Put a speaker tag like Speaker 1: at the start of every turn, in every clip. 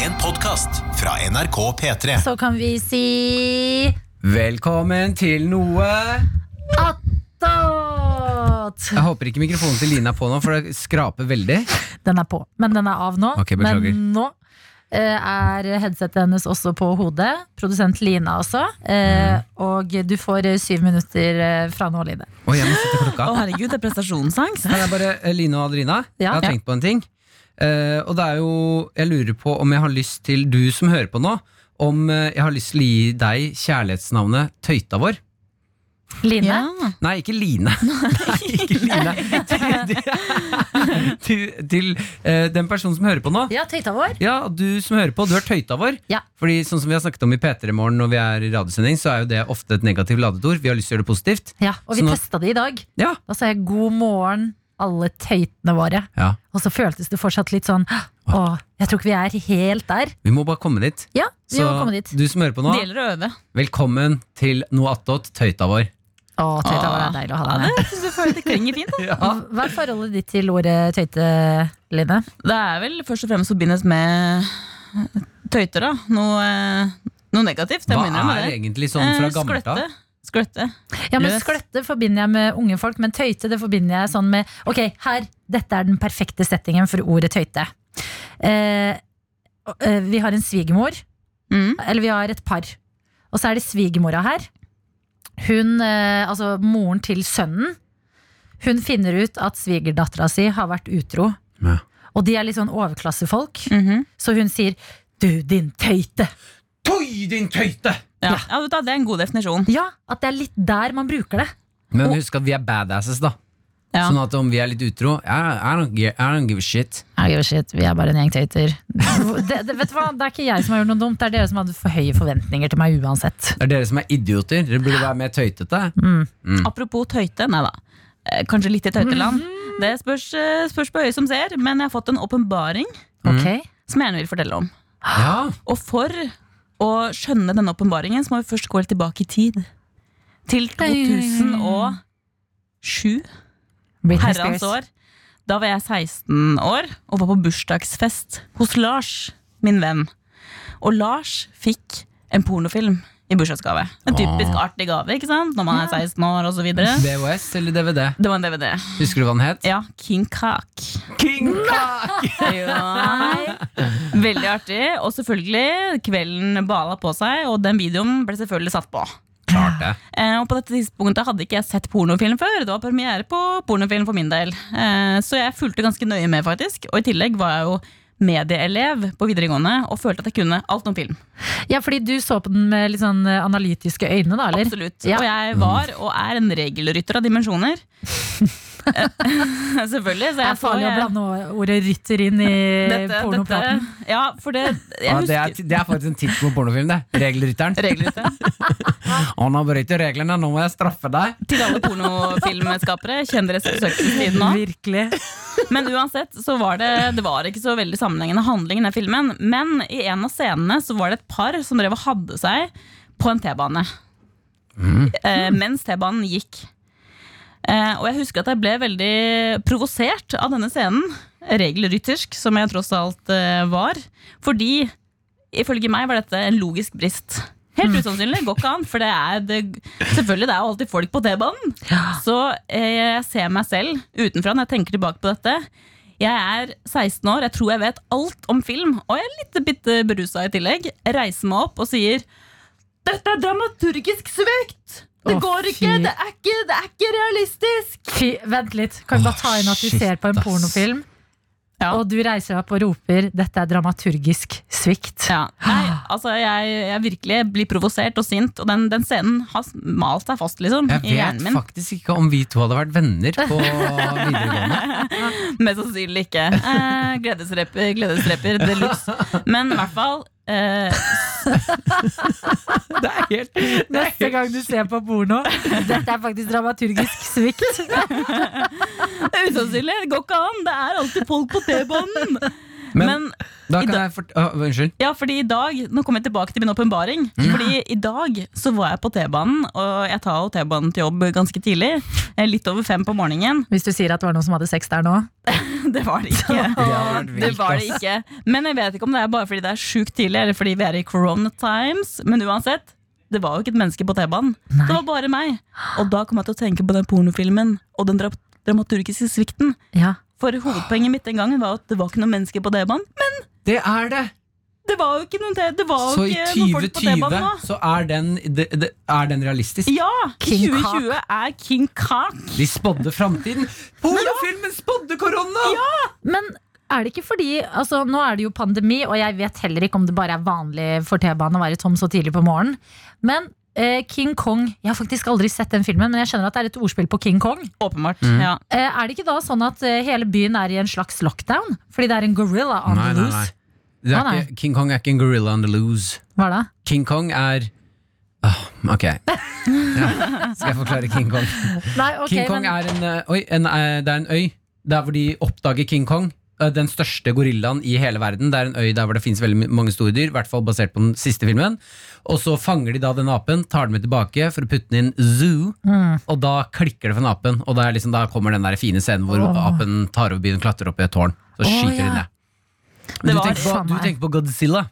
Speaker 1: podkast fra NRK P3.
Speaker 2: Så kan vi si
Speaker 3: Velkommen til noe
Speaker 2: attåt!
Speaker 3: Jeg håper ikke mikrofonen til Line er på nå, for det skraper veldig.
Speaker 2: Den er på, men den er av nå.
Speaker 3: Ok, beklager.
Speaker 2: men nå eh, er headsetet hennes også på hodet. Produsent Lina også.
Speaker 3: Mm.
Speaker 2: Eh, Og du får eh, syv minutter eh, fra nå, Line.
Speaker 3: Å, jeg må sette klokka.
Speaker 4: Å herregud, det er prestasjonsangst.
Speaker 3: Her er bare eh, Line og Adelina. Jeg
Speaker 2: Ja.
Speaker 3: har tenkt på en ting. Eh, og det er jo Jeg lurer på om jeg har lyst til, du som hører på nå, om eh, jeg har lyst til å gi deg kjærlighetsnavnet Tøyta vår.
Speaker 2: Line?
Speaker 4: Ja.
Speaker 3: Nei, ikke Line. Nei, ikke Line. Til, til, til eh, den personen som hører på nå.
Speaker 2: Ja, tøyta vår.
Speaker 3: Ja, du som hører på, du er tøyta vår.
Speaker 2: Ja.
Speaker 3: Fordi sånn som vi har snakket om i P3 Morgen når vi er i radiosending, så er jo det ofte et negativt ladet ord. Vi har lyst til å gjøre det positivt.
Speaker 2: Ja, og vi
Speaker 3: Så nå-
Speaker 2: testa det i dag.
Speaker 3: Ja.
Speaker 2: Da sa jeg god morgen, alle tøytene våre.
Speaker 3: ja.
Speaker 2: Og så føltes det fortsatt litt sånn Å, jeg tror ikke vi er helt der.
Speaker 3: Vi må bare komme dit.
Speaker 2: Ja, vi må komme dit.
Speaker 3: du som hører på nå,
Speaker 4: Det gjelder å øve.
Speaker 3: velkommen til noe attåt, tøyta vår.
Speaker 2: Å, tøyta vår
Speaker 4: Åh.
Speaker 2: er deilig å ha
Speaker 4: Ja,
Speaker 2: deg med.
Speaker 4: det synes jeg føler det klinger fint. da.
Speaker 2: Hva er forholdet ditt til ordet tøyte, Line?
Speaker 4: Det er vel først og fremst forbindes med tøyter, da. Noe, eh, noe negativt. Jeg
Speaker 3: Hva
Speaker 4: må innrømme
Speaker 3: er
Speaker 4: det.
Speaker 3: egentlig sånn fra
Speaker 4: Eh,
Speaker 3: gammelt av?
Speaker 4: Skløtte. Skløtte.
Speaker 2: Ja, men
Speaker 4: Løs.
Speaker 2: Skløtte forbinder jeg med unge folk, men tøyte det forbinder jeg sånn med Ok, her, dette er den perfekte settingen for ordet tøyte. Eh, og, eh, vi har en svigermor,
Speaker 4: Mm.
Speaker 2: eller vi har et par. Og så er det svigermora her. Hun, eh, altså moren til sønnen, hun finner ut at svigerdattera si har vært utro.
Speaker 3: Ja.
Speaker 2: Og de er litt sånn overklassefolk,
Speaker 4: Mhm.
Speaker 2: så hun sier 'du, din tøyte'.
Speaker 3: Tøy, din tøyte!
Speaker 4: ja. ja, vet du hva, det er en god definisjon.
Speaker 2: Ja, At det er litt der man bruker det.
Speaker 3: Men husk at vi er badasses, da.
Speaker 4: Ja.
Speaker 3: Sånn at om vi er litt utro I I don't, gi- I don't give a shit.
Speaker 2: I give a shit, vi er bare en gjeng tøyter. Det, det, vet du hva? det er ikke jeg som har gjort noe dumt, det er dere som hadde for høye forventninger til meg uansett.
Speaker 3: Det er dere som er idioter. Dere burde være mer tøytete. Mm.
Speaker 4: Apropos tøyte, nei da. Eh, Kanskje litt i tøyteland. Det spørs, eh, spørs på øyet som ser, men jeg har fått en åpenbaring
Speaker 2: Ok?
Speaker 4: som jeg gjerne vil fortelle om.
Speaker 3: Ja.
Speaker 4: Og for å skjønne denne åpenbaringen, så må vi først gå litt tilbake i tid. Til 2007,
Speaker 2: Britney
Speaker 4: herrens
Speaker 2: Spears.
Speaker 4: år. Da var jeg 16 år og var på bursdagsfest hos Lars, min venn. Og Lars fikk en pornofilm i bursdagsgave. En typisk artig gave ikke sant? når man er 16 år osv. Det
Speaker 3: VHS eller DVD?
Speaker 4: var en DVD.
Speaker 3: Husker du hva den het?
Speaker 4: Ja, King Kak.
Speaker 3: King
Speaker 4: Ja. Veldig artig. Og selvfølgelig, kvelden bala på seg, og den videoen ble selvfølgelig satt på.
Speaker 3: Klart det.
Speaker 4: Eh, og på dette tidspunktet hadde ikke jeg sett pornofilm før. Det var premiere på pornofilm for min del. Eh, så jeg fulgte ganske nøye med, faktisk. Og i tillegg var jeg jo medieelev på videregående og følte at jeg kunne alt om film.
Speaker 2: Ja, fordi du så på den med litt sånn eh, analytiske øyne, da? eller?
Speaker 4: Absolutt.
Speaker 2: Ja.
Speaker 4: Og
Speaker 3: Mm.
Speaker 4: jeg var og er en regelrytter av dimensjoner. Eh, Selvfølgelig. Så
Speaker 2: Det
Speaker 4: jeg
Speaker 2: er farlig å
Speaker 4: jeg-
Speaker 2: blande ordet rytter inn i
Speaker 4: dette, dette,
Speaker 2: pornopraten.
Speaker 4: ja, for det, jeg
Speaker 3: Ja, det,
Speaker 4: husker,
Speaker 3: er, det er faktisk en tittel på pornofilm, det. Regelrytteren.
Speaker 4: Regelrytter.
Speaker 3: Å, nå bryter du reglene, nå må jeg straffe deg.
Speaker 4: Til alle pornofilmskapere. Kjenn deres besøkelsestid nå.
Speaker 2: Virkelig.
Speaker 4: Men uansett så var det, det var ikke så veldig sammenhengende handling i den filmen. Men i en av scenene så var det et par som drev og hadde seg på en T-bane. Eh, mens T-banen gikk. Eh, og jeg husker at jeg ble veldig provosert av denne scenen. Regelryttersk, som jeg tross alt eh, var. Fordi ifølge meg var dette en logisk brist. Helt usannsynlig. Går ikke an. For det er det, selvfølgelig det er jo alltid folk på T-banen. Så eh, jeg ser meg selv utenfra når jeg tenker tilbake på dette. Jeg er 16 år, jeg tror jeg vet alt om film, og jeg er litt bitte berusa i tillegg. Jeg reiser meg opp og sier Dette er dramaturgisk svekt! Det
Speaker 2: Å,
Speaker 4: går ikke!
Speaker 2: fy.
Speaker 4: Det er ikke, det er ikke realistisk!
Speaker 2: Fy, vent litt. Kan vi bare ta inn at vi
Speaker 3: Åh, shit,
Speaker 2: ser på en
Speaker 3: ass.
Speaker 2: pornofilm,
Speaker 4: Ja.
Speaker 2: og du reiser deg opp og roper 'dette er dramaturgisk svikt'?
Speaker 4: Ja, nei, altså jeg, jeg virkelig blir provosert og sint, og den, den scenen har malt seg fast liksom,
Speaker 3: Jeg
Speaker 4: i hjernen
Speaker 3: vet
Speaker 4: min.
Speaker 3: faktisk ikke om vi to hadde vært venner på videregående.
Speaker 4: Mest sannsynlig ikke. Eh, gledesreper, gledesreper de luxe. Men i hvert fall eh,
Speaker 3: Det er helt, det er
Speaker 2: Neste
Speaker 3: helt
Speaker 2: gang du ser på porno, dette er faktisk dramaturgisk svikt.
Speaker 4: Usannsynlig. Det går ikke an. Det er alltid folk på T-banen.
Speaker 3: Men,
Speaker 4: Men
Speaker 3: da
Speaker 4: i
Speaker 3: kan
Speaker 4: dag-
Speaker 3: jeg fort... Å, unnskyld.
Speaker 4: Ja, fordi i dag, Nå kommer jeg tilbake til min åpenbaring. Fordi I dag så var jeg på T-banen, og jeg tar jo T-banen til jobb ganske tidlig. eh, Litt over fem på morgenen.
Speaker 2: Hvis du sier at det var noen som hadde sex der nå.
Speaker 4: Det var det ikke. Det var det ikke. Men jeg vet ikke om det er bare fordi det er sjukt tidlig, eller fordi vi er i corona times. Men uansett, det var jo ikke et menneske på T-banen. Det var bare meg. Og da kom jeg til å tenke på den pornofilmen og den dra- dramaturgiske svikten.
Speaker 2: Ja.
Speaker 4: For hovedpoenget mitt den gangen var at det var ikke noen mennesker på T-banen. Men
Speaker 3: Det er det!
Speaker 4: det var jo ikke noen, te- det var
Speaker 3: Så
Speaker 4: jo
Speaker 3: i
Speaker 4: ikke noen folk på
Speaker 3: 2020
Speaker 4: T-banen nå.
Speaker 3: så er den, det, det, er den realistisk.
Speaker 4: Ja!
Speaker 2: King
Speaker 4: 2020 er King Kak.
Speaker 3: De spådde framtiden. Pornofilmen spådde korona!
Speaker 2: Men er det ikke fordi altså, Nå er det jo pandemi, og jeg vet heller ikke om det bare er vanlig for T-banen å være tom så tidlig på morgenen. Men eh, King Kong Jeg har faktisk aldri sett den filmen, men jeg skjønner at det er et ordspill på King Kong.
Speaker 4: Åpenbart. ja.
Speaker 2: Eh, er det ikke da sånn at eh, hele byen er i en slags lockdown? Fordi det er en gorilla on
Speaker 3: Nei,
Speaker 2: the
Speaker 3: nei, nei.
Speaker 2: loose?
Speaker 3: Det
Speaker 2: Å,
Speaker 3: er
Speaker 2: nei.
Speaker 3: ikke, King Kong er ikke en gorilla on the loose.
Speaker 2: Hva da?
Speaker 3: King Kong er Åh, Ok. Ja. Skal jeg forklare King Kong?
Speaker 2: Nei, ok,
Speaker 3: King Kong
Speaker 2: men,
Speaker 3: er en, eh, oi, en, eh, det er en øy der hvor de oppdager King Kong. eh, Den største gorillaen i hele verden. Det er en øy der hvor det finnes veldig mange store dyr. I hvert fall basert på den siste filmen Og så fanger de da den apen, tar den med tilbake for å putte den inn zoo.
Speaker 2: Mm.
Speaker 3: Og da klikker det for den apen, og da, er liksom, da kommer den der fine scenen hvor apen tar over byen og klatrer opp i et tårn.
Speaker 2: Åh,
Speaker 3: Så skyter de
Speaker 2: ja.
Speaker 3: ned.
Speaker 4: Det
Speaker 3: Du
Speaker 4: var-
Speaker 3: tenker, på,
Speaker 2: Faen
Speaker 3: du
Speaker 2: meg.
Speaker 3: tenker på Godzilla.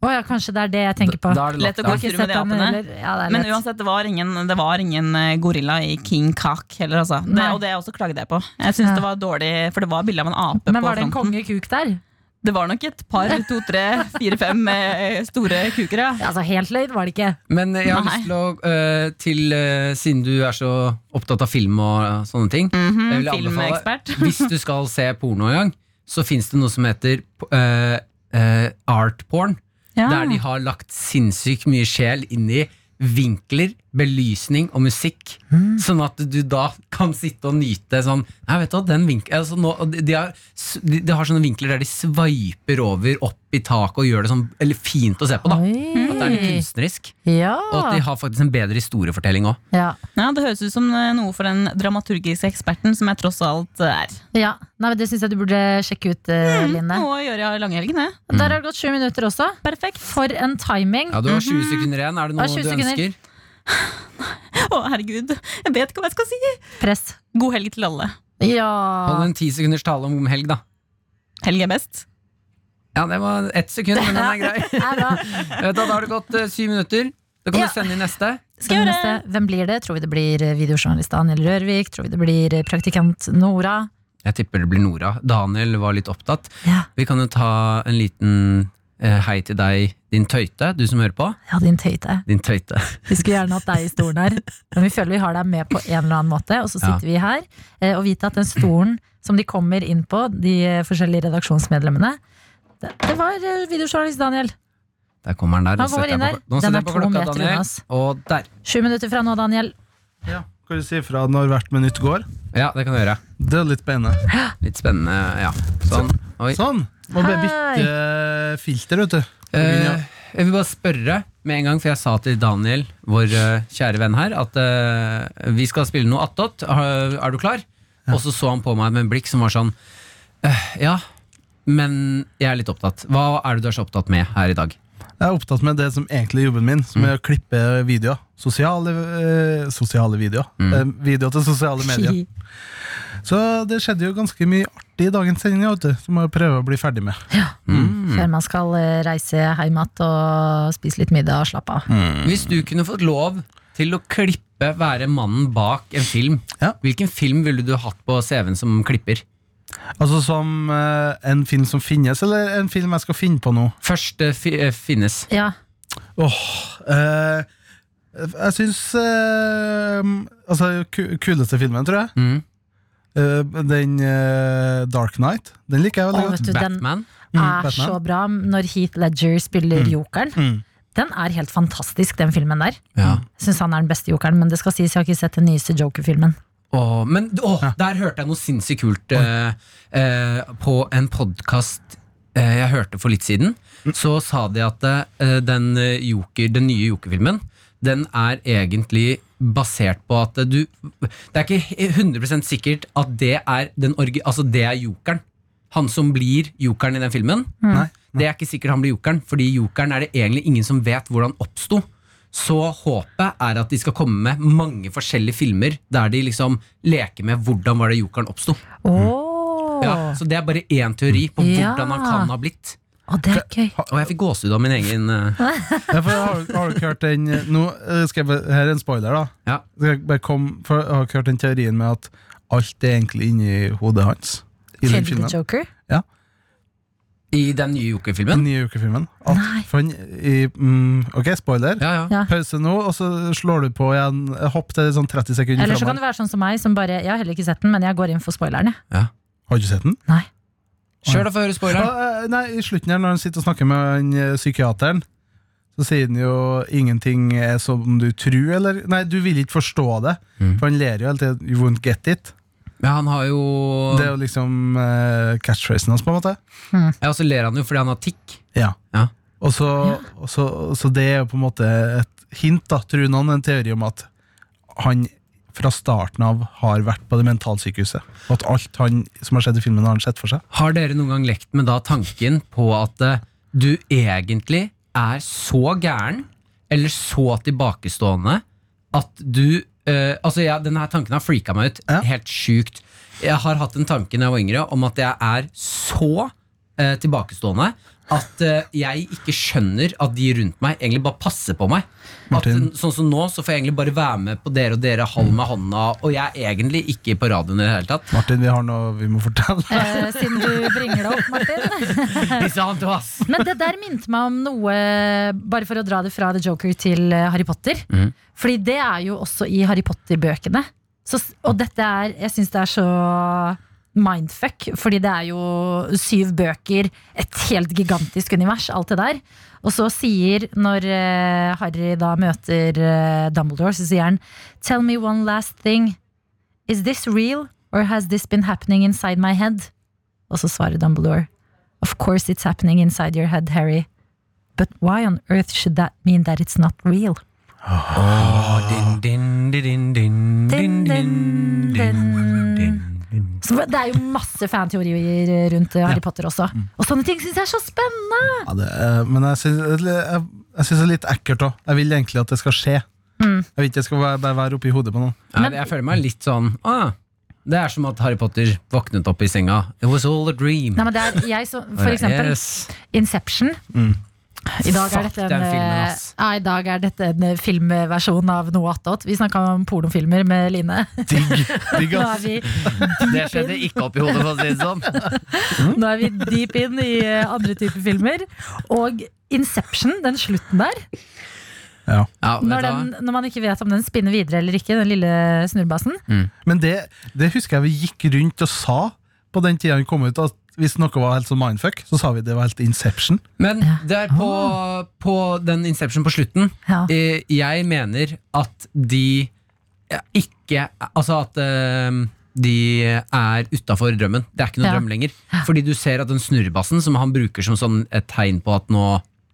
Speaker 2: Å ja, kanskje det er det jeg tenker på.
Speaker 3: Da er det
Speaker 4: Lett
Speaker 3: lagt
Speaker 4: å
Speaker 2: Jeg
Speaker 3: av.
Speaker 2: har ikke
Speaker 4: Kaffe
Speaker 2: sett
Speaker 4: med de
Speaker 2: den
Speaker 4: apene.
Speaker 2: heller. Ja, det er
Speaker 4: Men
Speaker 2: lett.
Speaker 4: uansett, det var ingen, det var ingen eh, gorilla i King Kak heller, altså. Det,
Speaker 2: Nei.
Speaker 4: og det også klagde jeg på. Jeg synes
Speaker 2: Ja.
Speaker 4: det var dårlig, For det var bilde av en ape
Speaker 2: men
Speaker 4: på
Speaker 2: var det en
Speaker 4: fronten.
Speaker 2: kongekuk der?
Speaker 4: Det var nok et par, to, tre, fire, fem eh, store kuker, ja.
Speaker 2: Altså, helt løyd var det ikke.
Speaker 3: Men jeg har
Speaker 4: Nei.
Speaker 3: lyst til å eh, til, eh, Siden du er så opptatt av film og eh, sånne ting jeg vil anbefale,
Speaker 4: Mm, Mhm, filmekspert.
Speaker 3: Hvis du skal se porno en gang, så fins det noe som heter eh, eh, art porn.
Speaker 4: Ja.
Speaker 3: Der de har lagt sinnssykt mye sjel inn i vinkler, belysning og musikk. Sånn at du da kan sitte og nyte sånn Nei, vet du hva, den vinkel altså nå, og de, de, har, s- de, de har sånne vinkler der de sveiper over opp i taket og gjør det sånn eller fint å se på. da At det er litt
Speaker 2: Oi.
Speaker 3: kunstnerisk.
Speaker 2: Ja.
Speaker 3: Og at de har faktisk en bedre historiefortelling òg.
Speaker 2: ja.
Speaker 4: ja, Det høres ut som eh, noe for den dramaturgiske eksperten som jeg tross alt eh, er.
Speaker 2: ja. Nei, men det syns jeg du burde sjekke ut, eh, Line.
Speaker 4: Noe å gjøre i langhelgen, det.
Speaker 2: Der har det gått sju minutter også.
Speaker 4: Perfekt.
Speaker 2: For en timing.
Speaker 3: Ja, du har 20 sekunder igjen. Er det
Speaker 2: Mm. Ja,
Speaker 3: noe
Speaker 2: 20
Speaker 3: du
Speaker 2: sekunder.
Speaker 3: ønsker?
Speaker 4: Å, herregud. Jeg vet ikke hva jeg skal si.
Speaker 2: Press.
Speaker 4: God helg til alle.
Speaker 3: Hold
Speaker 2: Ja.
Speaker 3: en 10 sekunders tale om helg, da.
Speaker 4: Helg er best.
Speaker 3: Ja, det var ett sekund, men den er grei.
Speaker 2: Er bra.
Speaker 3: Vet du hva, Da har det gått eh, syv minutter. Da kan
Speaker 2: Ja.
Speaker 3: du sende inn neste.
Speaker 4: Skal
Speaker 2: Den
Speaker 4: jeg
Speaker 2: neste,
Speaker 4: gjøre
Speaker 2: hvem blir det? Tror vi det blir eh, videojournalist Daniel Rørvik? Tror vi det blir eh, praktikant Nora?
Speaker 3: Jeg tipper det blir Nora. Daniel var litt opptatt.
Speaker 2: Ja,
Speaker 3: Vi kan jo ta en liten eh, hei til deg, din tøyte, du som hører på.
Speaker 2: ja din tøyte.
Speaker 3: Din tøyte.
Speaker 2: Vi skulle gjerne hatt deg i stolen her, men vi føler vi har deg med på en eller annen måte. Og så sitter vi her eh, og vite at den stolen som de kommer inn på, de eh, forskjellige redaksjonsmedlemmene, det, det var eh, videojournalist Daniel.
Speaker 3: Der kommer han der.
Speaker 2: Han
Speaker 3: Nå setter
Speaker 2: kommer inn
Speaker 3: jeg på-
Speaker 2: der. Den
Speaker 3: Nå
Speaker 2: er
Speaker 3: setter jeg på
Speaker 2: to
Speaker 3: klokka,
Speaker 2: meter unna
Speaker 3: Daniel.
Speaker 2: oss.
Speaker 3: Og der.
Speaker 2: Sju minutter fra nå, Daniel.
Speaker 5: Ja, Kan du si fra når hvert minutt går?
Speaker 3: Ja, det kan du gjøre.
Speaker 5: Det er litt spennende.
Speaker 3: Litt spennende, ja. Sånn. Oi.
Speaker 5: Sånn! Må bare
Speaker 2: Hei.
Speaker 5: bytte filter, vet du.
Speaker 3: Eh, jeg vil bare spørre med en gang, for jeg sa til Daniel, vår eh, kjære venn her, at eh, vi skal spille noe attåt. Er er du klar? Og så så han på meg med en blikk som var sånn «Eh, Ja, men jeg er litt opptatt. Hva er det du er så opptatt med her i dag?
Speaker 5: Jeg er opptatt med det som egentlig er jobben min, som er å klippe videoer. Sosiale, eh, sosiale videoer. Eh, videoer til sosiale medier. Så det skjedde jo ganske mye artig i dagens sending, ja, vet du, som jeg prøver å bli ferdig med. Mm.
Speaker 2: Før man skal eh, reise hjem igjen og spise litt middag og slappe
Speaker 5: Mm.
Speaker 2: av.
Speaker 3: Hvis du kunne fått lov til å klippe, være mannen bak en film,
Speaker 5: Ja.
Speaker 3: hvilken film ville du hatt på CV-en som klipper?
Speaker 5: Altså som eh, en film som finnes, eller en film jeg skal finne på nå.
Speaker 3: Først eh, fi, eh, finnes.
Speaker 2: Ja,
Speaker 5: Åh, eh, jeg syns eh, Altså, ku- kuleste filmen, tror jeg.
Speaker 3: Mm.
Speaker 5: Eh, den eh, Dark Knight. Den liker jeg veldig
Speaker 2: Å,
Speaker 5: godt.
Speaker 2: vet du, den-
Speaker 3: Batman.
Speaker 5: Mm,
Speaker 2: er
Speaker 5: Batman.
Speaker 2: så bra når Heath Ledger spiller jokeren.
Speaker 5: Mm.
Speaker 2: Den er helt fantastisk, den filmen der.
Speaker 3: Ja.
Speaker 2: Jeg Syns han er den beste jokeren, men det skal sies jeg har ikke sett den nyeste Joker-filmen.
Speaker 3: Åh, men åh, der hørte jeg noe sinnssykt kult eh, eh, på en podkast eh, jeg hørte for litt siden. Så sa de at eh, den, eh, Joker, den nye Joker-filmen den er egentlig basert på at du Det er ikke he- 100 sikkert at det er, den orgi, altså det er jokeren. han som blir jokeren i den filmen.
Speaker 2: Mm.
Speaker 5: Nei.
Speaker 3: Det er ikke sikkert han blir jokeren, fordi jokeren er det egentlig ingen som vet hvordan oppsto. Så håpet er at de skal komme med mange forskjellige filmer der de liksom leker med hvordan var det jokeren oppsto.
Speaker 5: Mm.
Speaker 2: Åh.
Speaker 3: Ja, så det er bare én teori på
Speaker 2: Ja.
Speaker 3: hvordan han kan ha blitt.
Speaker 2: Å, det er gøy.
Speaker 3: Og jeg fikk gåsehud av min egen eh,
Speaker 5: Ja, for har, har du ikke hørt den eh, Nå eh, skal jeg bare, Her er en spoiler, da.
Speaker 3: Ja.
Speaker 5: Skal jeg bare komme- for jeg har ikke hørt den teorien med at alt er egentlig inni hodet hans. I den
Speaker 2: Kjenner du
Speaker 5: filmen.
Speaker 2: Joker?
Speaker 3: I den nye
Speaker 5: Den
Speaker 3: Joker-filmen.
Speaker 5: nye ukefilmen. At,
Speaker 2: Nei.
Speaker 5: for han i, mm, ok, spoiler.
Speaker 3: Ja, ja.
Speaker 2: Ja.
Speaker 5: Pause nå, og så slår du på igjen. Hopp til sånn 30 sekunder
Speaker 2: Eller så kan
Speaker 5: framover.
Speaker 2: du være sånn som meg, som bare Jeg har heller ikke sett den, men jeg går inn for spoileren, jeg.
Speaker 5: Har du ikke sett den?
Speaker 2: Nei.
Speaker 3: Kjør, da, få høre spoileren.
Speaker 5: Ah, eh, nei, I slutten her, når han sitter og snakker med han, eh, psykiateren, så sier han jo 'ingenting er som du tror', eller Nei, du vil ikke forstå det,
Speaker 3: Mm.
Speaker 5: for han ler jo hele tiden. 'You won't get it'.
Speaker 3: Ja, han har jo
Speaker 5: Det er jo liksom eh, catchphrasen hans, på en måte.
Speaker 3: Ja, og så ler han jo fordi han har tikk.
Speaker 5: Ja.
Speaker 3: Ja.
Speaker 5: Og så, og så, så det er jo på en måte et hint, da, tror noen, en teori om at han fra starten av har vært på det mentalsykehuset. Og at alt han som har skjedd i filmen, har han sett for seg.
Speaker 3: Har dere noen gang lekt med da tanken på at eh, du egentlig er så gæren, eller så tilbakestående, at du eh, Altså, jeg, denne her tanken har freaka meg ut.
Speaker 5: Ja.
Speaker 3: Helt sjukt. Jeg har hatt en tanke da jeg var yngre om at jeg er så eh, tilbakestående at eh, jeg ikke skjønner at de rundt meg egentlig bare passer på meg. At,
Speaker 5: Martin.
Speaker 3: sånn som nå, så får jeg egentlig bare være med på dere og dere, halv med hånda, og jeg er egentlig ikke på radioen i det hele tatt.
Speaker 5: Martin, vi har noe vi må fortelle.
Speaker 2: Eh, siden du bringer det opp, Martin.
Speaker 3: Ikke sant, ass?
Speaker 2: Men det der minte meg om noe, bare for å dra det fra The Joker til eh, Harry Potter.
Speaker 3: Mhm.
Speaker 2: Fordi det er jo også i Harry Potter-bøkene. Så s- Og dette er Jeg syns det er så mindfuck, fordi det er jo syv bøker, et helt gigantisk univers, alt det der. Og så sier, når eh, Harry da møter eh, Dumbledore, så sier han Tell me one last thing. Is this real, or has this been happening inside my head? Og så svarer Dumbledore Of course it's happening inside your head, Harry. But why on earth should that mean that it's not real?
Speaker 3: Din, din, di, din, din, din,
Speaker 2: Din,
Speaker 3: din,
Speaker 2: din,
Speaker 3: din,
Speaker 2: din.
Speaker 3: din, din.
Speaker 2: Så det er jo masse fanteorier rundt eh, Harry Potter også. Og sånne ting syns jeg er så spennende!
Speaker 5: Ja, det, eh, men jeg syns jeg, jeg synes det er litt ekkelt òg. Jeg vil egentlig at det skal skje. Jeg vil ikke det skal være- bare være oppi hodet på noen.
Speaker 3: Ja, Jeg føler meg litt sånn ah, Det er som at Harry Potter våknet opp i senga. It was all a dream.
Speaker 2: Nei, men det er jeg som, for eksempel
Speaker 3: Yes.
Speaker 2: Inception. I dag,
Speaker 3: Fuck
Speaker 2: er dette
Speaker 3: den
Speaker 2: en,
Speaker 3: filmen,
Speaker 2: eh,
Speaker 3: ass.
Speaker 2: ja, I dag er dette en eh, filmversjon av noe attåt. Vi snakka om pornofilmer med Line.
Speaker 5: Digg, digg
Speaker 2: Nå er
Speaker 5: ass.
Speaker 2: vi
Speaker 3: Det skjedde ikke oppi hodet, for å si det sånn.
Speaker 2: Nå er vi deep in i eh, andre typer filmer. Og Inception, den slutten der.
Speaker 5: Ja.
Speaker 3: Ja,
Speaker 2: Når,
Speaker 3: vet du
Speaker 2: den,
Speaker 3: hva?
Speaker 2: når man ikke vet om den spinner videre eller ikke, den lille snurrebassen.
Speaker 3: Mm.
Speaker 5: Men det, det husker jeg vi gikk rundt og sa på den tida han kom ut, at hvis noe var helt sånn mindfuck, så sa vi det var helt Inception.
Speaker 3: Men der på,
Speaker 2: Ah.
Speaker 3: på den Inception på slutten
Speaker 2: Ja.
Speaker 3: eh, Jeg mener at de eh, ikke Altså at eh, de er utafor drømmen. Det er ikke noen
Speaker 2: Ja.
Speaker 3: drøm lenger. Fordi du ser at den snurrebassen som han bruker som sånn et tegn på at nå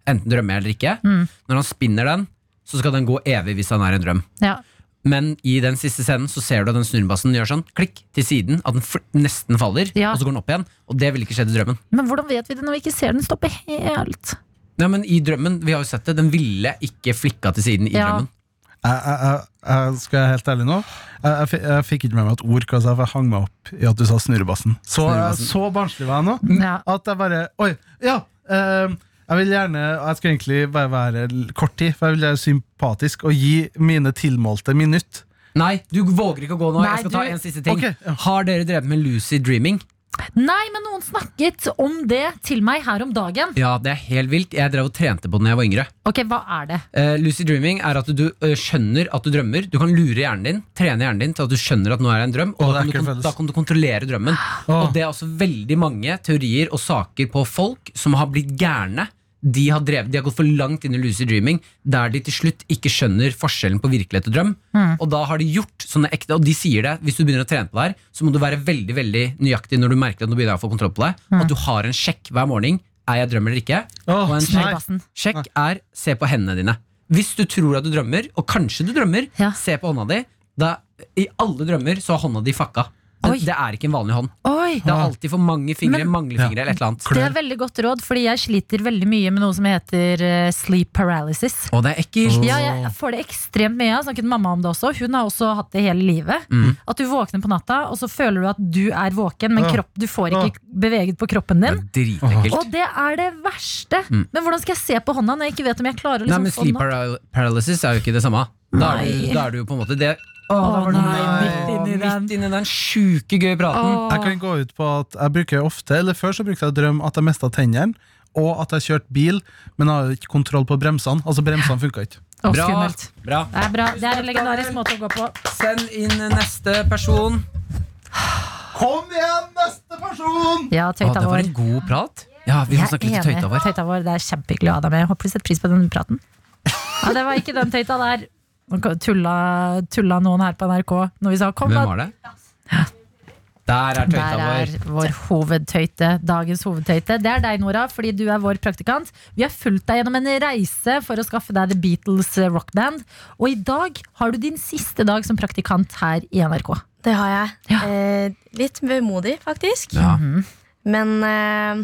Speaker 3: enten drømmer jeg eller ikke,
Speaker 2: Mm.
Speaker 3: når han spinner den, så skal den gå evig hvis han er en drøm.
Speaker 2: Ja.
Speaker 3: Men i den siste scenen så ser du at den snurrebassen gjør sånn klikk til siden, at den fl- nesten faller,
Speaker 2: Ja.
Speaker 3: og så går den opp igjen. Og det ville ikke skjedd i drømmen.
Speaker 2: Men hvordan vet vi det når vi ikke ser den stoppe helt?
Speaker 3: Nei, men i drømmen, vi har jo sett det, den ville ikke flikka til siden i
Speaker 2: Ja.
Speaker 3: drømmen.
Speaker 5: Jeg, jeg, jeg, jeg skal jeg helt ærlig nå jeg, jeg, fi- jeg fikk ikke med meg et ord hva jeg sa, for jeg hang meg opp i at du sa snurrebassen. Så,
Speaker 3: Snurrebassen.
Speaker 5: så barnslig var jeg nå.
Speaker 3: Mm.
Speaker 2: Ja.
Speaker 5: At jeg bare Oi, ja! ehm, jeg vil gjerne Jeg skal egentlig bare være l- kort tid, for jeg vil være sympatisk og gi mine tilmålte minutt.
Speaker 3: Nei, du våger ikke å gå nå.
Speaker 2: Nei,
Speaker 3: jeg skal
Speaker 2: du-
Speaker 3: ta en siste ting.
Speaker 5: Ok, ja.
Speaker 3: Har dere drevet med lucid dreaming?
Speaker 2: Nei, men noen snakket om det til meg her om dagen.
Speaker 3: Ja, det er helt vilt. Jeg drev og trente på det da jeg var yngre.
Speaker 2: Ok, hva er det?
Speaker 3: Eh, lucid dreaming er at du eh, skjønner at du drømmer. Du kan lure hjernen din, trene hjernen din til at du skjønner at nå er det en drøm. Og
Speaker 5: Å,
Speaker 3: da
Speaker 5: det er
Speaker 3: kan, du,
Speaker 5: ikke
Speaker 3: kon-
Speaker 5: felles. Ah.
Speaker 3: da kan du kontrollere drømmen. Og det er også veldig mange teorier og saker på folk som har blitt gærne. De har, drevet, de har gått for langt inn i lucid dreaming, der de til slutt ikke skjønner forskjellen på virkelighet og drøm. Og da har de gjort sånne ekte, og de sier det, hvis du begynner å trene på det her, så må du være veldig veldig nøyaktig når du merker at du begynner å få kontroll på deg. At du har en sjekk hver morgen. Er jeg drøm eller ikke?
Speaker 5: Åh,
Speaker 3: og en
Speaker 5: nei.
Speaker 3: sjekk
Speaker 2: Snurrebassen.
Speaker 3: Sjekk er se på hendene dine. Hvis du tror at du drømmer, og kanskje du drømmer,
Speaker 2: Ja.
Speaker 3: se på hånda di. Da, I alle drømmer så har hånda di fucka. Den
Speaker 2: Oi.
Speaker 3: Det er ikke en vanlig hånd.
Speaker 2: Oi,
Speaker 3: Det er alltid for mange fingre,
Speaker 2: Men-
Speaker 3: manglefingre eller et eller annet.
Speaker 2: det er veldig godt råd, fordi jeg sliter veldig mye med noe som heter eh, sleep paralysis.
Speaker 3: Å, det er ekkelt.
Speaker 2: Ja, jeg får det ekstremt mye. Jeg har snakket med mamma om det også. Hun har også hatt det hele livet.
Speaker 3: Mm.
Speaker 2: At du våkner på natta, og så føler du at du er våken, men
Speaker 5: Ja.
Speaker 2: kropp, du får ikke beveget på kroppen
Speaker 3: Det
Speaker 2: din.
Speaker 3: er dritekkelt.
Speaker 2: Og det er det verste! Men hvordan skal jeg se på hånda når jeg ikke vet om jeg klarer å
Speaker 3: Mm. Nei,
Speaker 2: liksom,
Speaker 3: men
Speaker 2: få
Speaker 3: sleep
Speaker 2: den opp?
Speaker 3: paral paralysis er jo ikke det samme. Da er, du,
Speaker 2: Nei.
Speaker 3: da er du jo på en måte det Å,
Speaker 2: da var det-
Speaker 3: nei,
Speaker 2: Nei, midt inni den.
Speaker 3: midt inni den sjuke gøye praten.
Speaker 5: Jeg kan gå ut på at jeg bruker ofte, eller før så brukte jeg å drømme at jeg mista tennene, og at jeg kjørte bil, men jeg har jo ikke kontroll på bremsene. Altså, bremsene funka ikke.
Speaker 2: Å,
Speaker 3: Bra.
Speaker 2: skummelt.
Speaker 3: bra.
Speaker 2: Det er bra. Det er en legendarisk måte å gå på.
Speaker 3: Send inn neste person.
Speaker 5: Kom igjen, neste person!
Speaker 2: Ja,
Speaker 3: Å,
Speaker 2: tøyta
Speaker 3: det var
Speaker 2: vår.
Speaker 3: en god prat. Ja, Vi må
Speaker 2: Jeg
Speaker 3: snakke litt
Speaker 2: er enig.
Speaker 3: tøyta vår.
Speaker 2: Tøyta vår. Det er kjempehyggelig å ha deg med. Jeg Håper du setter pris på den praten. Ja, det var ikke den tøyta der. Nå Tulla, tulla noen her på NRK når vi sa 'kom,
Speaker 3: Hvem
Speaker 2: da'.
Speaker 3: var det? Der er tøyta
Speaker 2: Der er
Speaker 3: vår.
Speaker 2: vår hovedtøyte. Dagens hovedtøyte. Det er deg, Nora, fordi du er vår praktikant. Vi har fulgt deg gjennom en reise for å skaffe deg The Beatles eh, rockband. Og i dag har du din siste dag som praktikant her i NRK.
Speaker 6: Det har jeg.
Speaker 2: Ja.
Speaker 6: Eh, litt vemodig, faktisk.
Speaker 3: Ja.
Speaker 6: Men eh,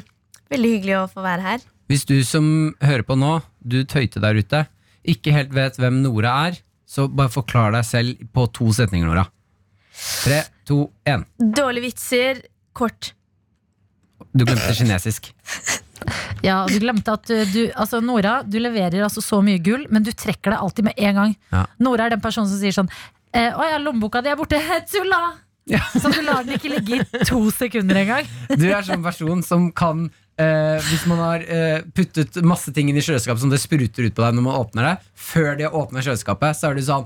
Speaker 6: veldig hyggelig å få være her.
Speaker 3: Hvis du som hører på nå, du tøyte der ute, ikke helt vet hvem Nora er, så bare forklar deg selv på to setninger, Nora. Tre, to, én.
Speaker 6: Dårlige vitser, kort.
Speaker 3: Du glemte kinesisk.
Speaker 2: Ja, du glemte at du, du Altså, Nora, du leverer altså så mye gull, men du trekker deg alltid med en gang.
Speaker 3: Ja.
Speaker 2: Nora er den personen som sier sånn eh, Å ja, lommeboka di er borte. Tulla!
Speaker 3: Ja.
Speaker 2: Så du lar den ikke ligge i to sekunder engang.
Speaker 3: Du er sånn person som kan eh, Hvis man har eh, puttet masse ting inn i kjøleskapet som det spruter ut på deg når man åpner det, før de har åpnet kjøleskapet, så er du sånn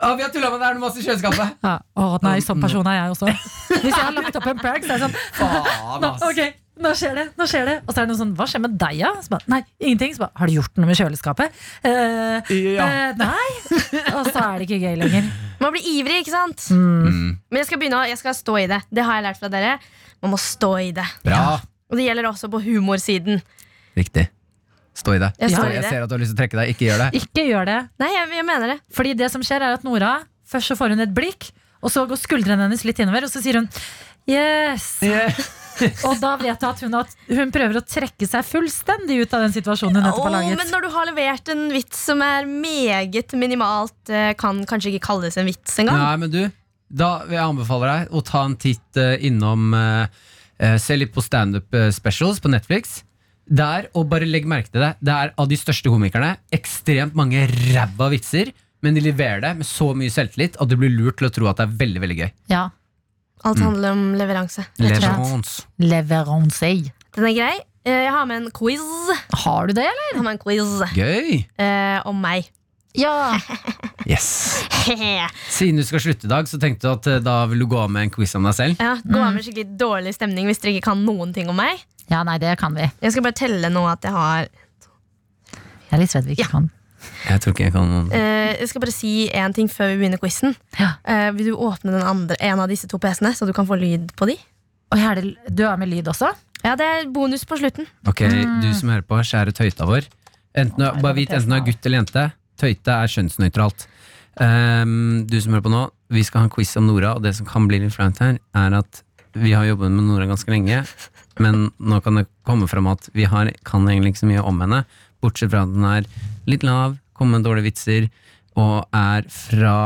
Speaker 3: Å, vi har tulla med det, er det masse i kjøleskapet?
Speaker 2: Ja, å nei,
Speaker 3: Mm.
Speaker 2: sånn person er jeg også. Hvis jeg har lagt opp en prank, så er jeg sånn
Speaker 3: Faen, altså.
Speaker 2: nå,
Speaker 3: ass.
Speaker 2: ok, nå skjer det, nå skjer det. Og så er det noe sånn, hva skjer med deg da? Så bare, nei, ingenting. Så bare, har du gjort noe med kjøleskapet? Eh,
Speaker 3: Ja.
Speaker 2: eh, nei. Og så er det ikke gøy lenger.
Speaker 6: Man blir ivrig, ikke sant?
Speaker 2: Mm.
Speaker 3: Mm,
Speaker 6: Men jeg skal begynne å jeg skal stå i det. Det har jeg lært fra dere. Man må stå i det.
Speaker 3: Bra.
Speaker 6: Og det gjelder også på humorsiden.
Speaker 3: Riktig. Stå i det.
Speaker 6: Jeg står i
Speaker 3: jeg
Speaker 6: det.
Speaker 3: ser at du har lyst til å trekke deg. Ikke gjør det.
Speaker 2: Ikke gjør det.
Speaker 6: Nei, jeg, jeg mener det.
Speaker 2: Fordi det som skjer er at Nora, først så får hun et blikk, og så går skuldrene hennes litt innover, og så sier hun, yes. Og da vet jeg at hun, at hun prøver å trekke seg fullstendig ut av den situasjonen hun nettopp har
Speaker 6: Åh,
Speaker 2: laget.
Speaker 6: men når du har levert en vits som er meget minimalt, eh, kan kanskje ikke kalles en vits engang.
Speaker 3: Nei, men du, da vil jeg anbefale deg å ta en titt eh, innom eh, eh, Se litt på standup eh, specials på Netflix. Der, og bare legg merke til det, det er av de største komikerne ekstremt mange ræva vitser, men de leverer det med så mye selvtillit at du blir lurt til å tro at det er veldig veldig gøy.
Speaker 2: Ja, Mm.
Speaker 6: Alt handler om leveranse. rett og slett.
Speaker 3: Leverance.
Speaker 2: leveranse.
Speaker 6: Den er grei. Eh, Jeg har med en quiz.
Speaker 2: Har du det, eller?
Speaker 6: Jeg har med en quiz
Speaker 3: Gøy!
Speaker 6: eh, om meg.
Speaker 2: Ja.
Speaker 3: Yes.
Speaker 6: ja,
Speaker 3: Siden du skal slutte i dag, så tenkte du at eh, da vil du gå av med en quiz om deg selv.
Speaker 6: Gå
Speaker 2: Mm.
Speaker 6: av med skikkelig dårlig stemning hvis dere ikke kan noen ting om meg.
Speaker 2: Ja, nei, det kan vi.
Speaker 6: Jeg skal bare telle nå at jeg har
Speaker 2: Jeg er litt redd vi ikke kan.
Speaker 3: Jeg tror ikke jeg kan
Speaker 6: eh, Jeg skal bare si én ting før vi begynner quizen.
Speaker 2: Ja.
Speaker 6: Eh, vil du åpne den andre, en av disse to PC-ene, så du kan få lyd på de?
Speaker 2: Og her er det, du er med lyd også?
Speaker 6: Ja, det er bonus på slutten.
Speaker 3: Ok, du som hører på, skjære tøyta vår. Enten, du- bare vit enten du er gutt eller jente. Tøyte er kjønnsnøytralt. Ehm, du som hører på nå, vi skal ha en quiz om Nora, og det som kan bli litt flaut her, er at vi har jobbet med Nora ganske lenge, men nå kan det komme fram at vi har, kan egentlig ikke så mye om henne, bortsett fra at hun er litt lav, kommer med dårlige vitser, og er fra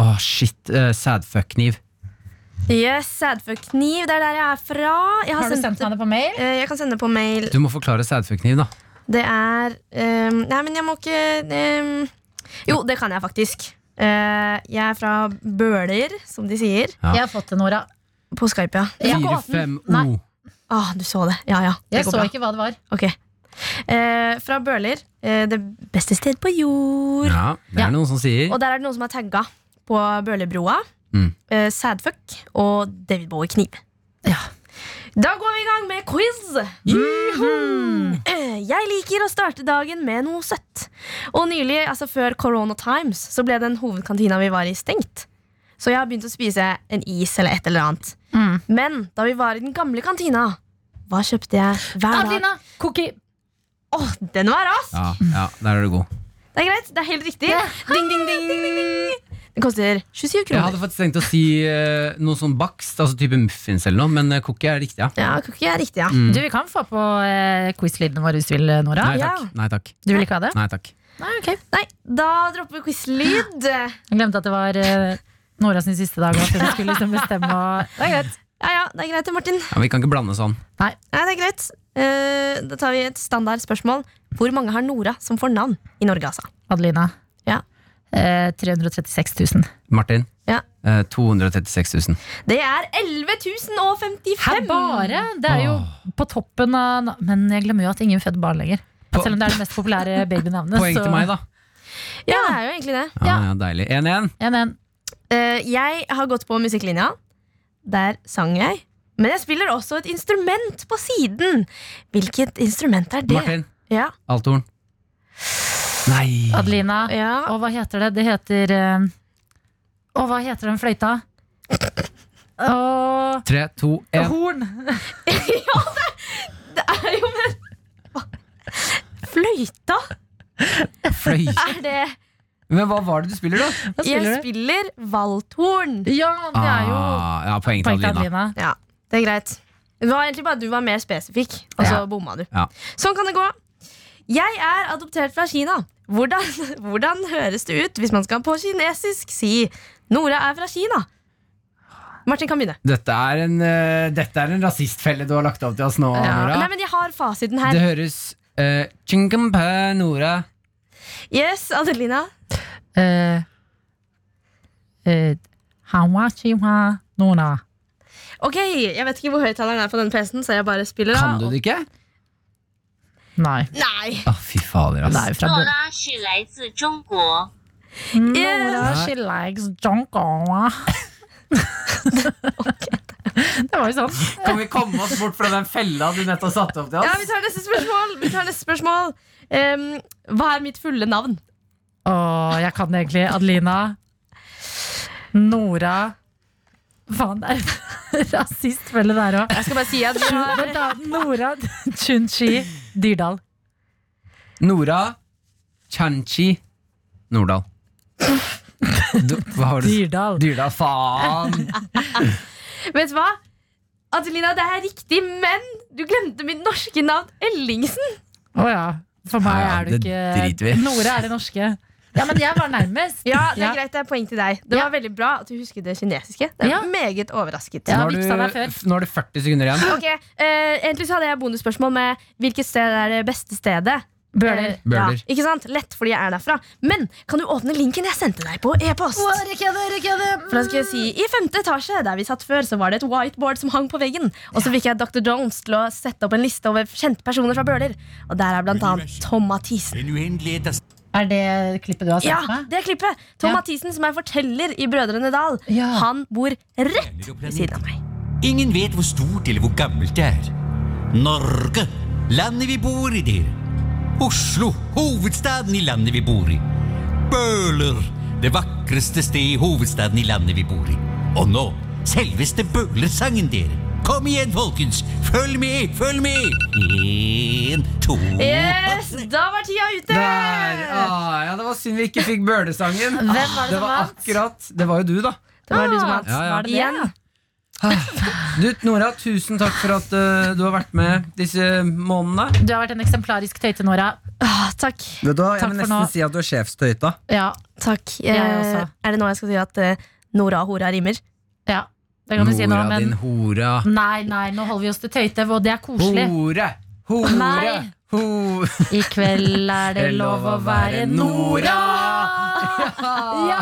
Speaker 3: Åh, shit, uh, sadfuck-kniv.
Speaker 6: Yes, Sædfuck-kniv, det er der jeg er fra. Jeg, har
Speaker 2: Har du sendt meg det på mail?
Speaker 6: eh, jeg kan sende på mail.
Speaker 3: Du må forklare sadfuck-kniv, da.
Speaker 6: Det er eh, Nei, men jeg må ikke eh, Jo, det kan jeg faktisk. Eh, jeg er fra Bøler, som de sier.
Speaker 3: Ja.
Speaker 2: Jeg har fått det, Nora.
Speaker 6: På Skype, ja.
Speaker 2: Jeg har ikke åpnet den. Nei,
Speaker 3: 4-5-O.
Speaker 6: Ah, du så det. Ja, ja. Det
Speaker 2: jeg
Speaker 6: går
Speaker 2: så
Speaker 6: bra.
Speaker 2: ikke hva det var.
Speaker 6: Ok. Eh, fra Bøler. eh, det beste sted på jord.
Speaker 3: Ja, det
Speaker 2: Ja.
Speaker 3: er noen som sier
Speaker 6: Og der er det noen som er tagga på Bølerbroa.
Speaker 3: Mm.
Speaker 6: Eh, Sadfuck og David Bowie-kniv.
Speaker 2: Ja.
Speaker 6: Da går vi i gang med quiz!
Speaker 2: Mm.
Speaker 6: Eh, Jeg liker å starte dagen med noe søtt. Og nylig, altså før Corona Times, så ble den hovedkantina vi var i, stengt. Så jeg har begynt å spise en is eller et eller annet.
Speaker 2: Mm.
Speaker 6: Men da vi var i den gamle kantina, hva kjøpte jeg hver dag?
Speaker 2: Adelina, cookie.
Speaker 6: Åh, den var rask!
Speaker 3: Ja, ja, der er du god.
Speaker 6: Det er greit, det er helt riktig. Ding, ding, ding. Den koster 27
Speaker 3: Jeg
Speaker 6: kroner.
Speaker 3: hadde faktisk tenkt å si eh, noe sånn bakst, altså type muffins eller noe, men eh, cookie er riktig, ja. Mm.
Speaker 6: Ja, cookie er riktig, ja.
Speaker 2: Du, Vi kan få på eh, quiz-lydene våre hvis du vil, eh, Nora.
Speaker 3: Nei
Speaker 6: ja.
Speaker 3: takk. Nei takk.
Speaker 2: Du vil ikke ha det?
Speaker 3: Nei, takk.
Speaker 2: Nei, ok
Speaker 6: Nei, da dropper vi quiz-lyd.
Speaker 2: Jeg glemte at det var eh, Nora sin siste dag. og At hun skulle liksom bestemme og... Det er greit.
Speaker 6: Ja, ja, det er greit, det, Martin.
Speaker 3: Ja, vi kan ikke blande sånn.
Speaker 6: Nei, det er greit. Eh, da tar vi et standardspørsmål. Hvor mange har Nora som fornavn i Norge, altså?
Speaker 2: Adelina.
Speaker 6: Ja.
Speaker 2: Eh, 336 000.
Speaker 3: Martin.
Speaker 6: Ja.
Speaker 3: eh, 236 000.
Speaker 6: Det er 11.055
Speaker 2: Her bare! Det er jo på toppen av na- Men jeg glemmer jo at ingen føder barn lenger.
Speaker 3: Po-
Speaker 2: Selv om det er det mest populære babynavnet.
Speaker 3: Poeng til meg, da.
Speaker 6: Ja, det er jo egentlig det.
Speaker 3: Ja, ja, deilig. 1-1.
Speaker 2: En, en.
Speaker 6: Eh, jeg har gått på musikklinja. Der sang jeg. Men jeg spiller også et instrument på siden. Hvilket instrument er det?
Speaker 3: Martin.
Speaker 6: Ja,
Speaker 3: Althorn. Nei.
Speaker 2: Adelina.
Speaker 6: ja.
Speaker 2: Og hva heter det? Det heter eh, Og hva heter den fløyta? Og
Speaker 3: 3, 2, 1.
Speaker 2: horn!
Speaker 6: Det er jo men Fløyta?
Speaker 3: Fløy.
Speaker 6: Er det
Speaker 3: Men hva var det du spiller, da?
Speaker 2: Hva
Speaker 6: Jeg
Speaker 2: spiller du?
Speaker 6: spiller valthorn.
Speaker 2: Ja, det er jo
Speaker 3: Ah, ja, poeng til
Speaker 2: poeng til
Speaker 3: Adelina.
Speaker 2: Adelina.
Speaker 6: Ja, det er greit. Det var egentlig bare at du var mer spesifikk, og så bomma du.
Speaker 3: Ja.
Speaker 6: Sånn kan det gå. Jeg er adoptert fra Kina. Hvordan, hvordan høres det ut hvis man skal på kinesisk si 'Nora er fra Kina'? Martin kan begynne.
Speaker 3: Dette er, en, eh, dette er en rasistfelle du har lagt opp til oss nå,
Speaker 6: Nei,
Speaker 3: Nora.
Speaker 6: men jeg har fasiten
Speaker 3: Det
Speaker 6: her.
Speaker 3: høres eh, Chingampe, Nora.
Speaker 6: Yes, Adelina.
Speaker 2: Eh, eh, Hawachiwa Nona.
Speaker 6: Ok, Jeg vet ikke hvor høyttaleren er på den PC-en, så jeg bare spiller. da.
Speaker 3: Kan du det ikke?
Speaker 2: Nei.
Speaker 6: Nei.
Speaker 3: Å, fy
Speaker 2: Det
Speaker 3: fader, ass.
Speaker 2: er jo fra
Speaker 7: 诺
Speaker 2: Bo-
Speaker 7: 拉是来自中国，
Speaker 2: Nora, she likes Jonkoa. Det var jo sånn.
Speaker 3: Kan vi komme oss bort fra den fella du nettopp satte opp til
Speaker 6: Ja, Vi tar neste spørsmål. Vi tar neste spørsmål. Em, hva er mitt fulle navn?
Speaker 2: Å, jeg kan det egentlig. Adelina. Nora. Faen, det er rasistfelle der òg.
Speaker 6: Jeg skal bare si at vi har
Speaker 2: Vent, da. Nora Chunchi Dyrdal.
Speaker 3: Nora Chanchi Nordahl. Du, hva var det?
Speaker 2: Dyrdal.
Speaker 3: Dyrdal, faen!
Speaker 6: Vet du hva? Adelina, det er riktig, men du glemte mitt norske navn Ellingsen.
Speaker 2: Å ja. For meg
Speaker 3: Ja, ja,
Speaker 2: er du
Speaker 3: det driter
Speaker 2: ikke
Speaker 3: vi.
Speaker 2: Nora er det norske. Ja, men jeg var nærmest.
Speaker 6: Ja, det er
Speaker 2: Ja.
Speaker 6: greit, det er poeng til deg. Det
Speaker 2: Ja.
Speaker 6: var veldig bra at du husket det kinesiske. Det er
Speaker 2: Ja.
Speaker 6: meget overrasket.
Speaker 2: Ja.
Speaker 3: Nå har
Speaker 2: vipsa deg
Speaker 3: du,
Speaker 2: før.
Speaker 3: f- nå har du 40 sekunder igjen.
Speaker 6: Ok, eh, Egentlig så hadde jeg bonusspørsmål med hvilket sted er det beste stedet.
Speaker 2: Bøler.
Speaker 6: Eh, ja,
Speaker 3: Bøler.
Speaker 6: ikke sant? Lett, fordi jeg er derfra. Men kan du åpne linken jeg sendte deg på e-post? For da skal jeg si, I femte etasje, der vi satt før, så var det et whiteboard som hang på veggen. Og så fikk jeg Dr. Jones til å sette opp en liste over kjente personer fra Bøler. Og der er blant annet Tom Mathisen.
Speaker 1: Den uendelige
Speaker 2: Er det klippet du har
Speaker 6: Ja,
Speaker 2: sendt meg?
Speaker 6: det er klippet. Tom
Speaker 2: Ja.
Speaker 6: Mathisen, som er forteller i Brødrene Dal,
Speaker 2: Ja.
Speaker 6: han bor rett ved siden av meg.
Speaker 1: Ingen vet hvor stort eller hvor gammelt det er. Norge, landet vi bor i, dere. Oslo, hovedstaden i landet vi bor i. Bøler, det vakreste sted i hovedstaden i landet vi bor i. Og nå, selveste Bølersangen, dere. Kom igjen, folkens. Følg med, følg med. En, to
Speaker 6: Yes, da var tida ute!
Speaker 3: Der! Ah, ja, det var synd vi ikke fikk Bøler-sangen.
Speaker 2: Hvem var det
Speaker 3: det
Speaker 2: som
Speaker 3: var
Speaker 2: vant?
Speaker 3: akkurat Det var jo du, da.
Speaker 2: Det var du som vant.
Speaker 3: Ja, ja.
Speaker 2: Var det det?
Speaker 6: Igjen.
Speaker 3: Ah. Du, Nora, tusen takk for at eh, du har vært med disse månedene.
Speaker 2: Du har vært en eksemplarisk tøyte, Nora.
Speaker 6: Ah, takk.
Speaker 3: Vet du,
Speaker 2: jeg Takk vil for nesten nå.
Speaker 3: si at du er sjefstøyta.
Speaker 2: Ja,
Speaker 6: takk.
Speaker 2: Jeg
Speaker 6: Eh,
Speaker 2: også.
Speaker 6: er det nå jeg skal si at eh, Nora og hora rimer?
Speaker 2: ja. Det kan du
Speaker 3: Nora,
Speaker 2: si nå, men
Speaker 3: din hora.
Speaker 2: Nei, nei, nå holder vi oss til tøyte, og det er koselig.
Speaker 3: Hore! Hore!
Speaker 2: Nei.
Speaker 3: Hore!
Speaker 2: I kveld er det lov å være Nora! Ja!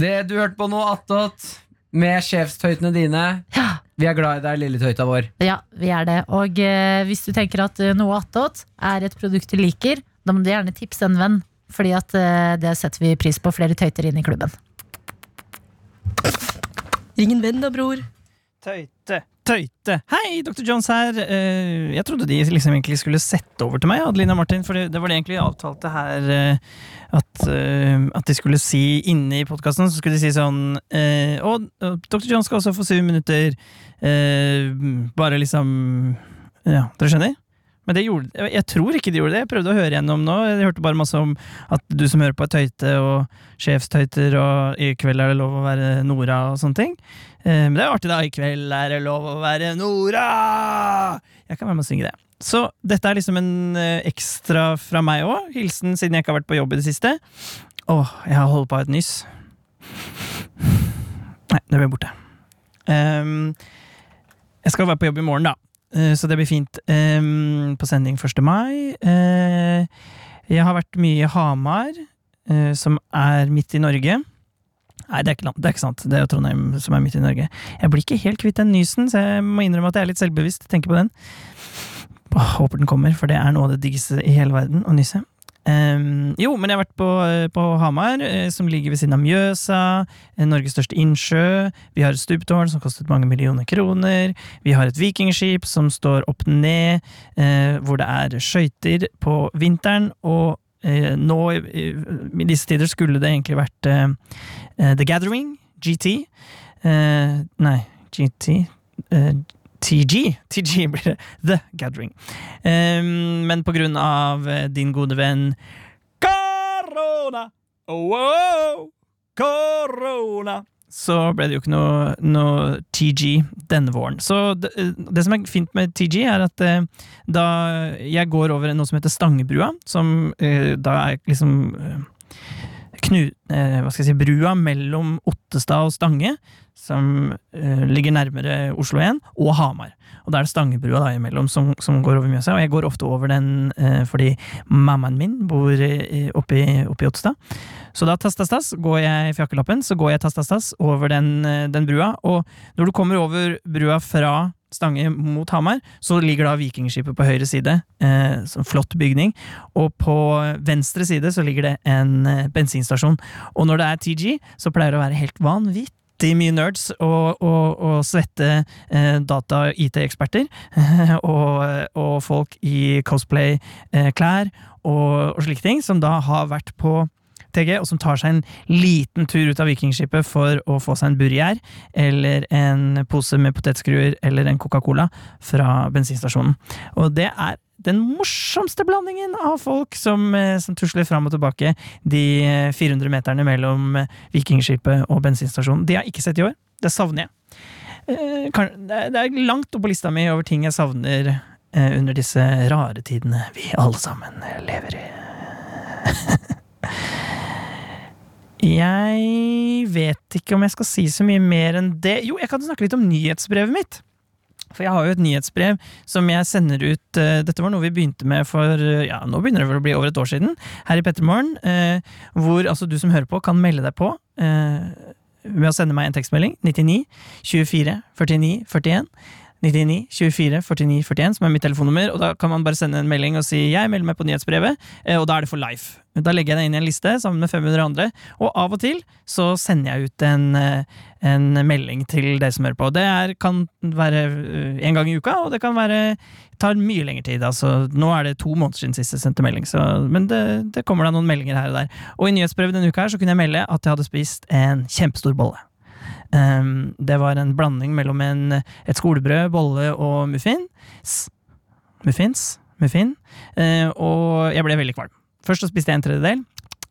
Speaker 3: Det du hørte på nå, attåt, med sjefstøytene dine.
Speaker 2: Ja.
Speaker 3: Vi er glad i deg, lille tøyta vår.
Speaker 2: Ja, vi er det. Og eh, hvis du tenker at eh, noe attåt er et produkt du liker, da må du gjerne tipse en venn. Fordi at eh, det setter vi pris på. Flere tøyter inn i klubben.
Speaker 6: Ring en venn da, bror.
Speaker 8: Tøyte, tøyte. Hei, Dr. Jones her. Eh, Jeg trodde de liksom egentlig skulle sette over til meg, Adelina og Martin, for det, det var det egentlig jeg avtalte her eh, at, eh, at de skulle si inne i podkasten. Så skulle de si sånn eh, Og og Dr. Jones skal også få syv minutter. eh, Bare liksom Ja, dere skjønner? Men det gjorde, jeg tror ikke de gjorde det. Jeg prøvde å høre gjennom nå. Jeg hørte bare masse om at du som hører på er tøyte og sjefstøyter, og i kveld er det lov å være Nora og sånne ting. Eh, Men det er jo artig, da. I kveld er det lov å være Nora! Jeg kan være med og synge det. Så dette er liksom en eh, ekstra fra meg òg. Hilsen siden jeg ikke har vært på jobb i det siste. Åh, jeg holder på å ha et nyss. Nei, det ble borte. Ehm, jeg skal være på jobb i morgen, da. Eh, Så det blir fint. Ehm, På sending 1. mai. Eh, Jeg har vært mye i Hamar, eh, som er midt i Norge. Nei, det er, ikke, land- det er ikke sant. Det er jo Trondheim som er midt i Norge. Jeg blir ikke helt kvitt den nysen, så jeg må innrømme at jeg er litt selvbevisst. Tenker på den. Åh, håper den kommer, for det er noe av det diggeste i hele verden å nyse. Ehm, jo, men jeg har vært på, på Hamar, eh, som ligger ved siden av Mjøsa. eh, Norges største innsjø. Vi har et stuptårn som kostet mange millioner kroner. Vi har et vikingskip som står opp ned, eh, hvor det er skøyter på vinteren. Og eh, nå, i, i disse tider, skulle det egentlig vært eh, eh, The Gathering, GT. Eh, nei, GT eh, TG. TG blir det. The Gathering. Eh, men på grunn av eh, din gode venn Korona! Oh, oh, korona! så ble det jo ikke noe, noe TG denne våren. Så det, eh, det som er fint med TG, er at eh, da jeg går over noe som heter Stangebrua, som eh, da er liksom eh, knu, eh, hva skal jeg si, brua mellom Ottestad og Stange, som eh, ligger nærmere Oslo 1, og Hamar. Og da er det Stangebrua da imellom som, som går over Mjøsa, og jeg går ofte over den eh, fordi mammaen min bor eh, oppe i oppe i Ottestad. Så da tass, tass, tass, går jeg i fjakkelappen, så går jeg tass, tass, tass over den, eh, den brua. Og når du kommer over brua fra Stange mot Hamar, så ligger da Vikingskipet på høyre side. Eh, som flott bygning. Og på venstre side så ligger det en eh, bensinstasjon. Og når det er TG, så pleier det å være helt vanvittig. Mye nerds og, og, og svette eh, data-IT-eksperter. og, og folk i cosplay-klær og, og slike ting, som da har vært på TG, og som tar seg en liten tur ut av vikingskipet for å få seg en burger, eller en pose med potetskruer, eller en Coca-Cola fra bensinstasjonen. Og det er den morsomste blandingen av folk som, eh, som tusler fram og tilbake de eh, 400 meterne mellom eh, vikingskipet og bensinstasjonen. De har jeg ikke sett i år. Det savner jeg. Eh, kan- Det er- det er langt opp på lista mi over ting jeg savner eh, under disse rare tidene vi alle sammen lever i. Jeg vet ikke om jeg skal si så mye mer enn det. Jo, jeg kan snakke litt om nyhetsbrevet mitt. For jeg har jo et nyhetsbrev som jeg sender ut eh, Dette var noe vi begynte med for eh, ja, nå begynner det vel å bli over et år siden, her i Pettermorgen. eh, hvor altså du som hører på, kan melde deg på eh, ved å sende meg en tekstmelding. 99 24 49 41. 99 24 49 41, som er mitt telefonnummer. Og da kan man bare sende en melding og si 'jeg melder meg på nyhetsbrevet', eh, og da er det for life. Da legger jeg det inn i en liste sammen med 500 andre, og av og til så sender jeg ut en, eh, en melding til dere som hører på. Det er, kan være eh, en gang i uka, og det kan være tar mye lengre tid. Altså, nå er det to måneder siden sist jeg sendte melding, så, men det, det kommer da noen meldinger her og der. Og i nyhetsbrevet denne uka her så kunne jeg melde at jeg hadde spist en kjempestor bolle. Ehm, det var en blanding mellom en, et skolebrød, bolle og muffins. Muffins. Muffin. Eh, og jeg ble veldig kvalm. Først så spiste jeg en tredjedel.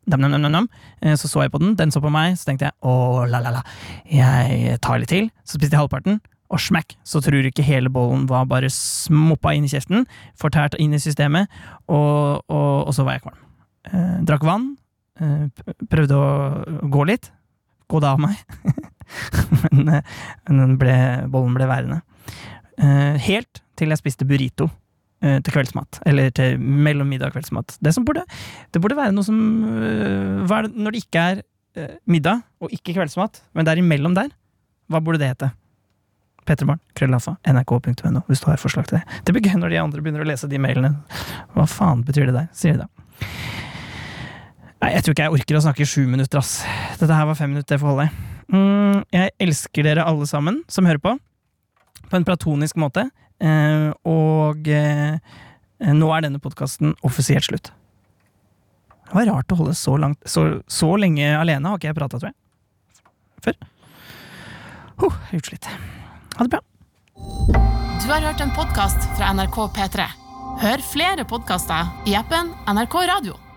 Speaker 8: Nam, nam, nam, nam, nam. Eh, Så så jeg på den, den så på meg, så tenkte jeg åh, la, la, la. Jeg tar litt til. Så spiste jeg halvparten, og smekk, så tror du ikke hele bollen var bare smoppa inn i kjeften, fortært inn i systemet, og, og, og så var jeg kvalm. Eh, drakk vann, eh, p- prøvde å gå litt, gå det av meg, men, eh, men den ble, bollen ble værende. Eh, helt til jeg spiste burrito. eh, Til kveldsmat, eller til mellom middag og kveldsmat. Det som burde det burde være noe som øh, hva er det, Når det ikke er øh, middag og ikke kveldsmat, men det er imellom der, hva burde det hete? Petremorgen, krøllaffa, nrk.no, hvis du har forslag til det. Det blir gøy når de andre begynner å lese de mailene. Hva faen betyr det der, sier de da. Nei, jeg tror ikke jeg orker å snakke i sju minutter, ass. Dette her var fem minutter, det får holde. Mm, jeg elsker dere alle sammen som hører på, på en platonisk måte. Eh, og eh, nå er denne podkasten offisielt slutt. Det var rart å holde så, langt, så, så lenge alene, har ikke jeg prata, tror jeg. Før. Huh, jeg er utslitt. Ha det bra.
Speaker 9: Du har hørt en podkast fra NRK P3.
Speaker 4: Hør flere podkaster i appen NRK Radio.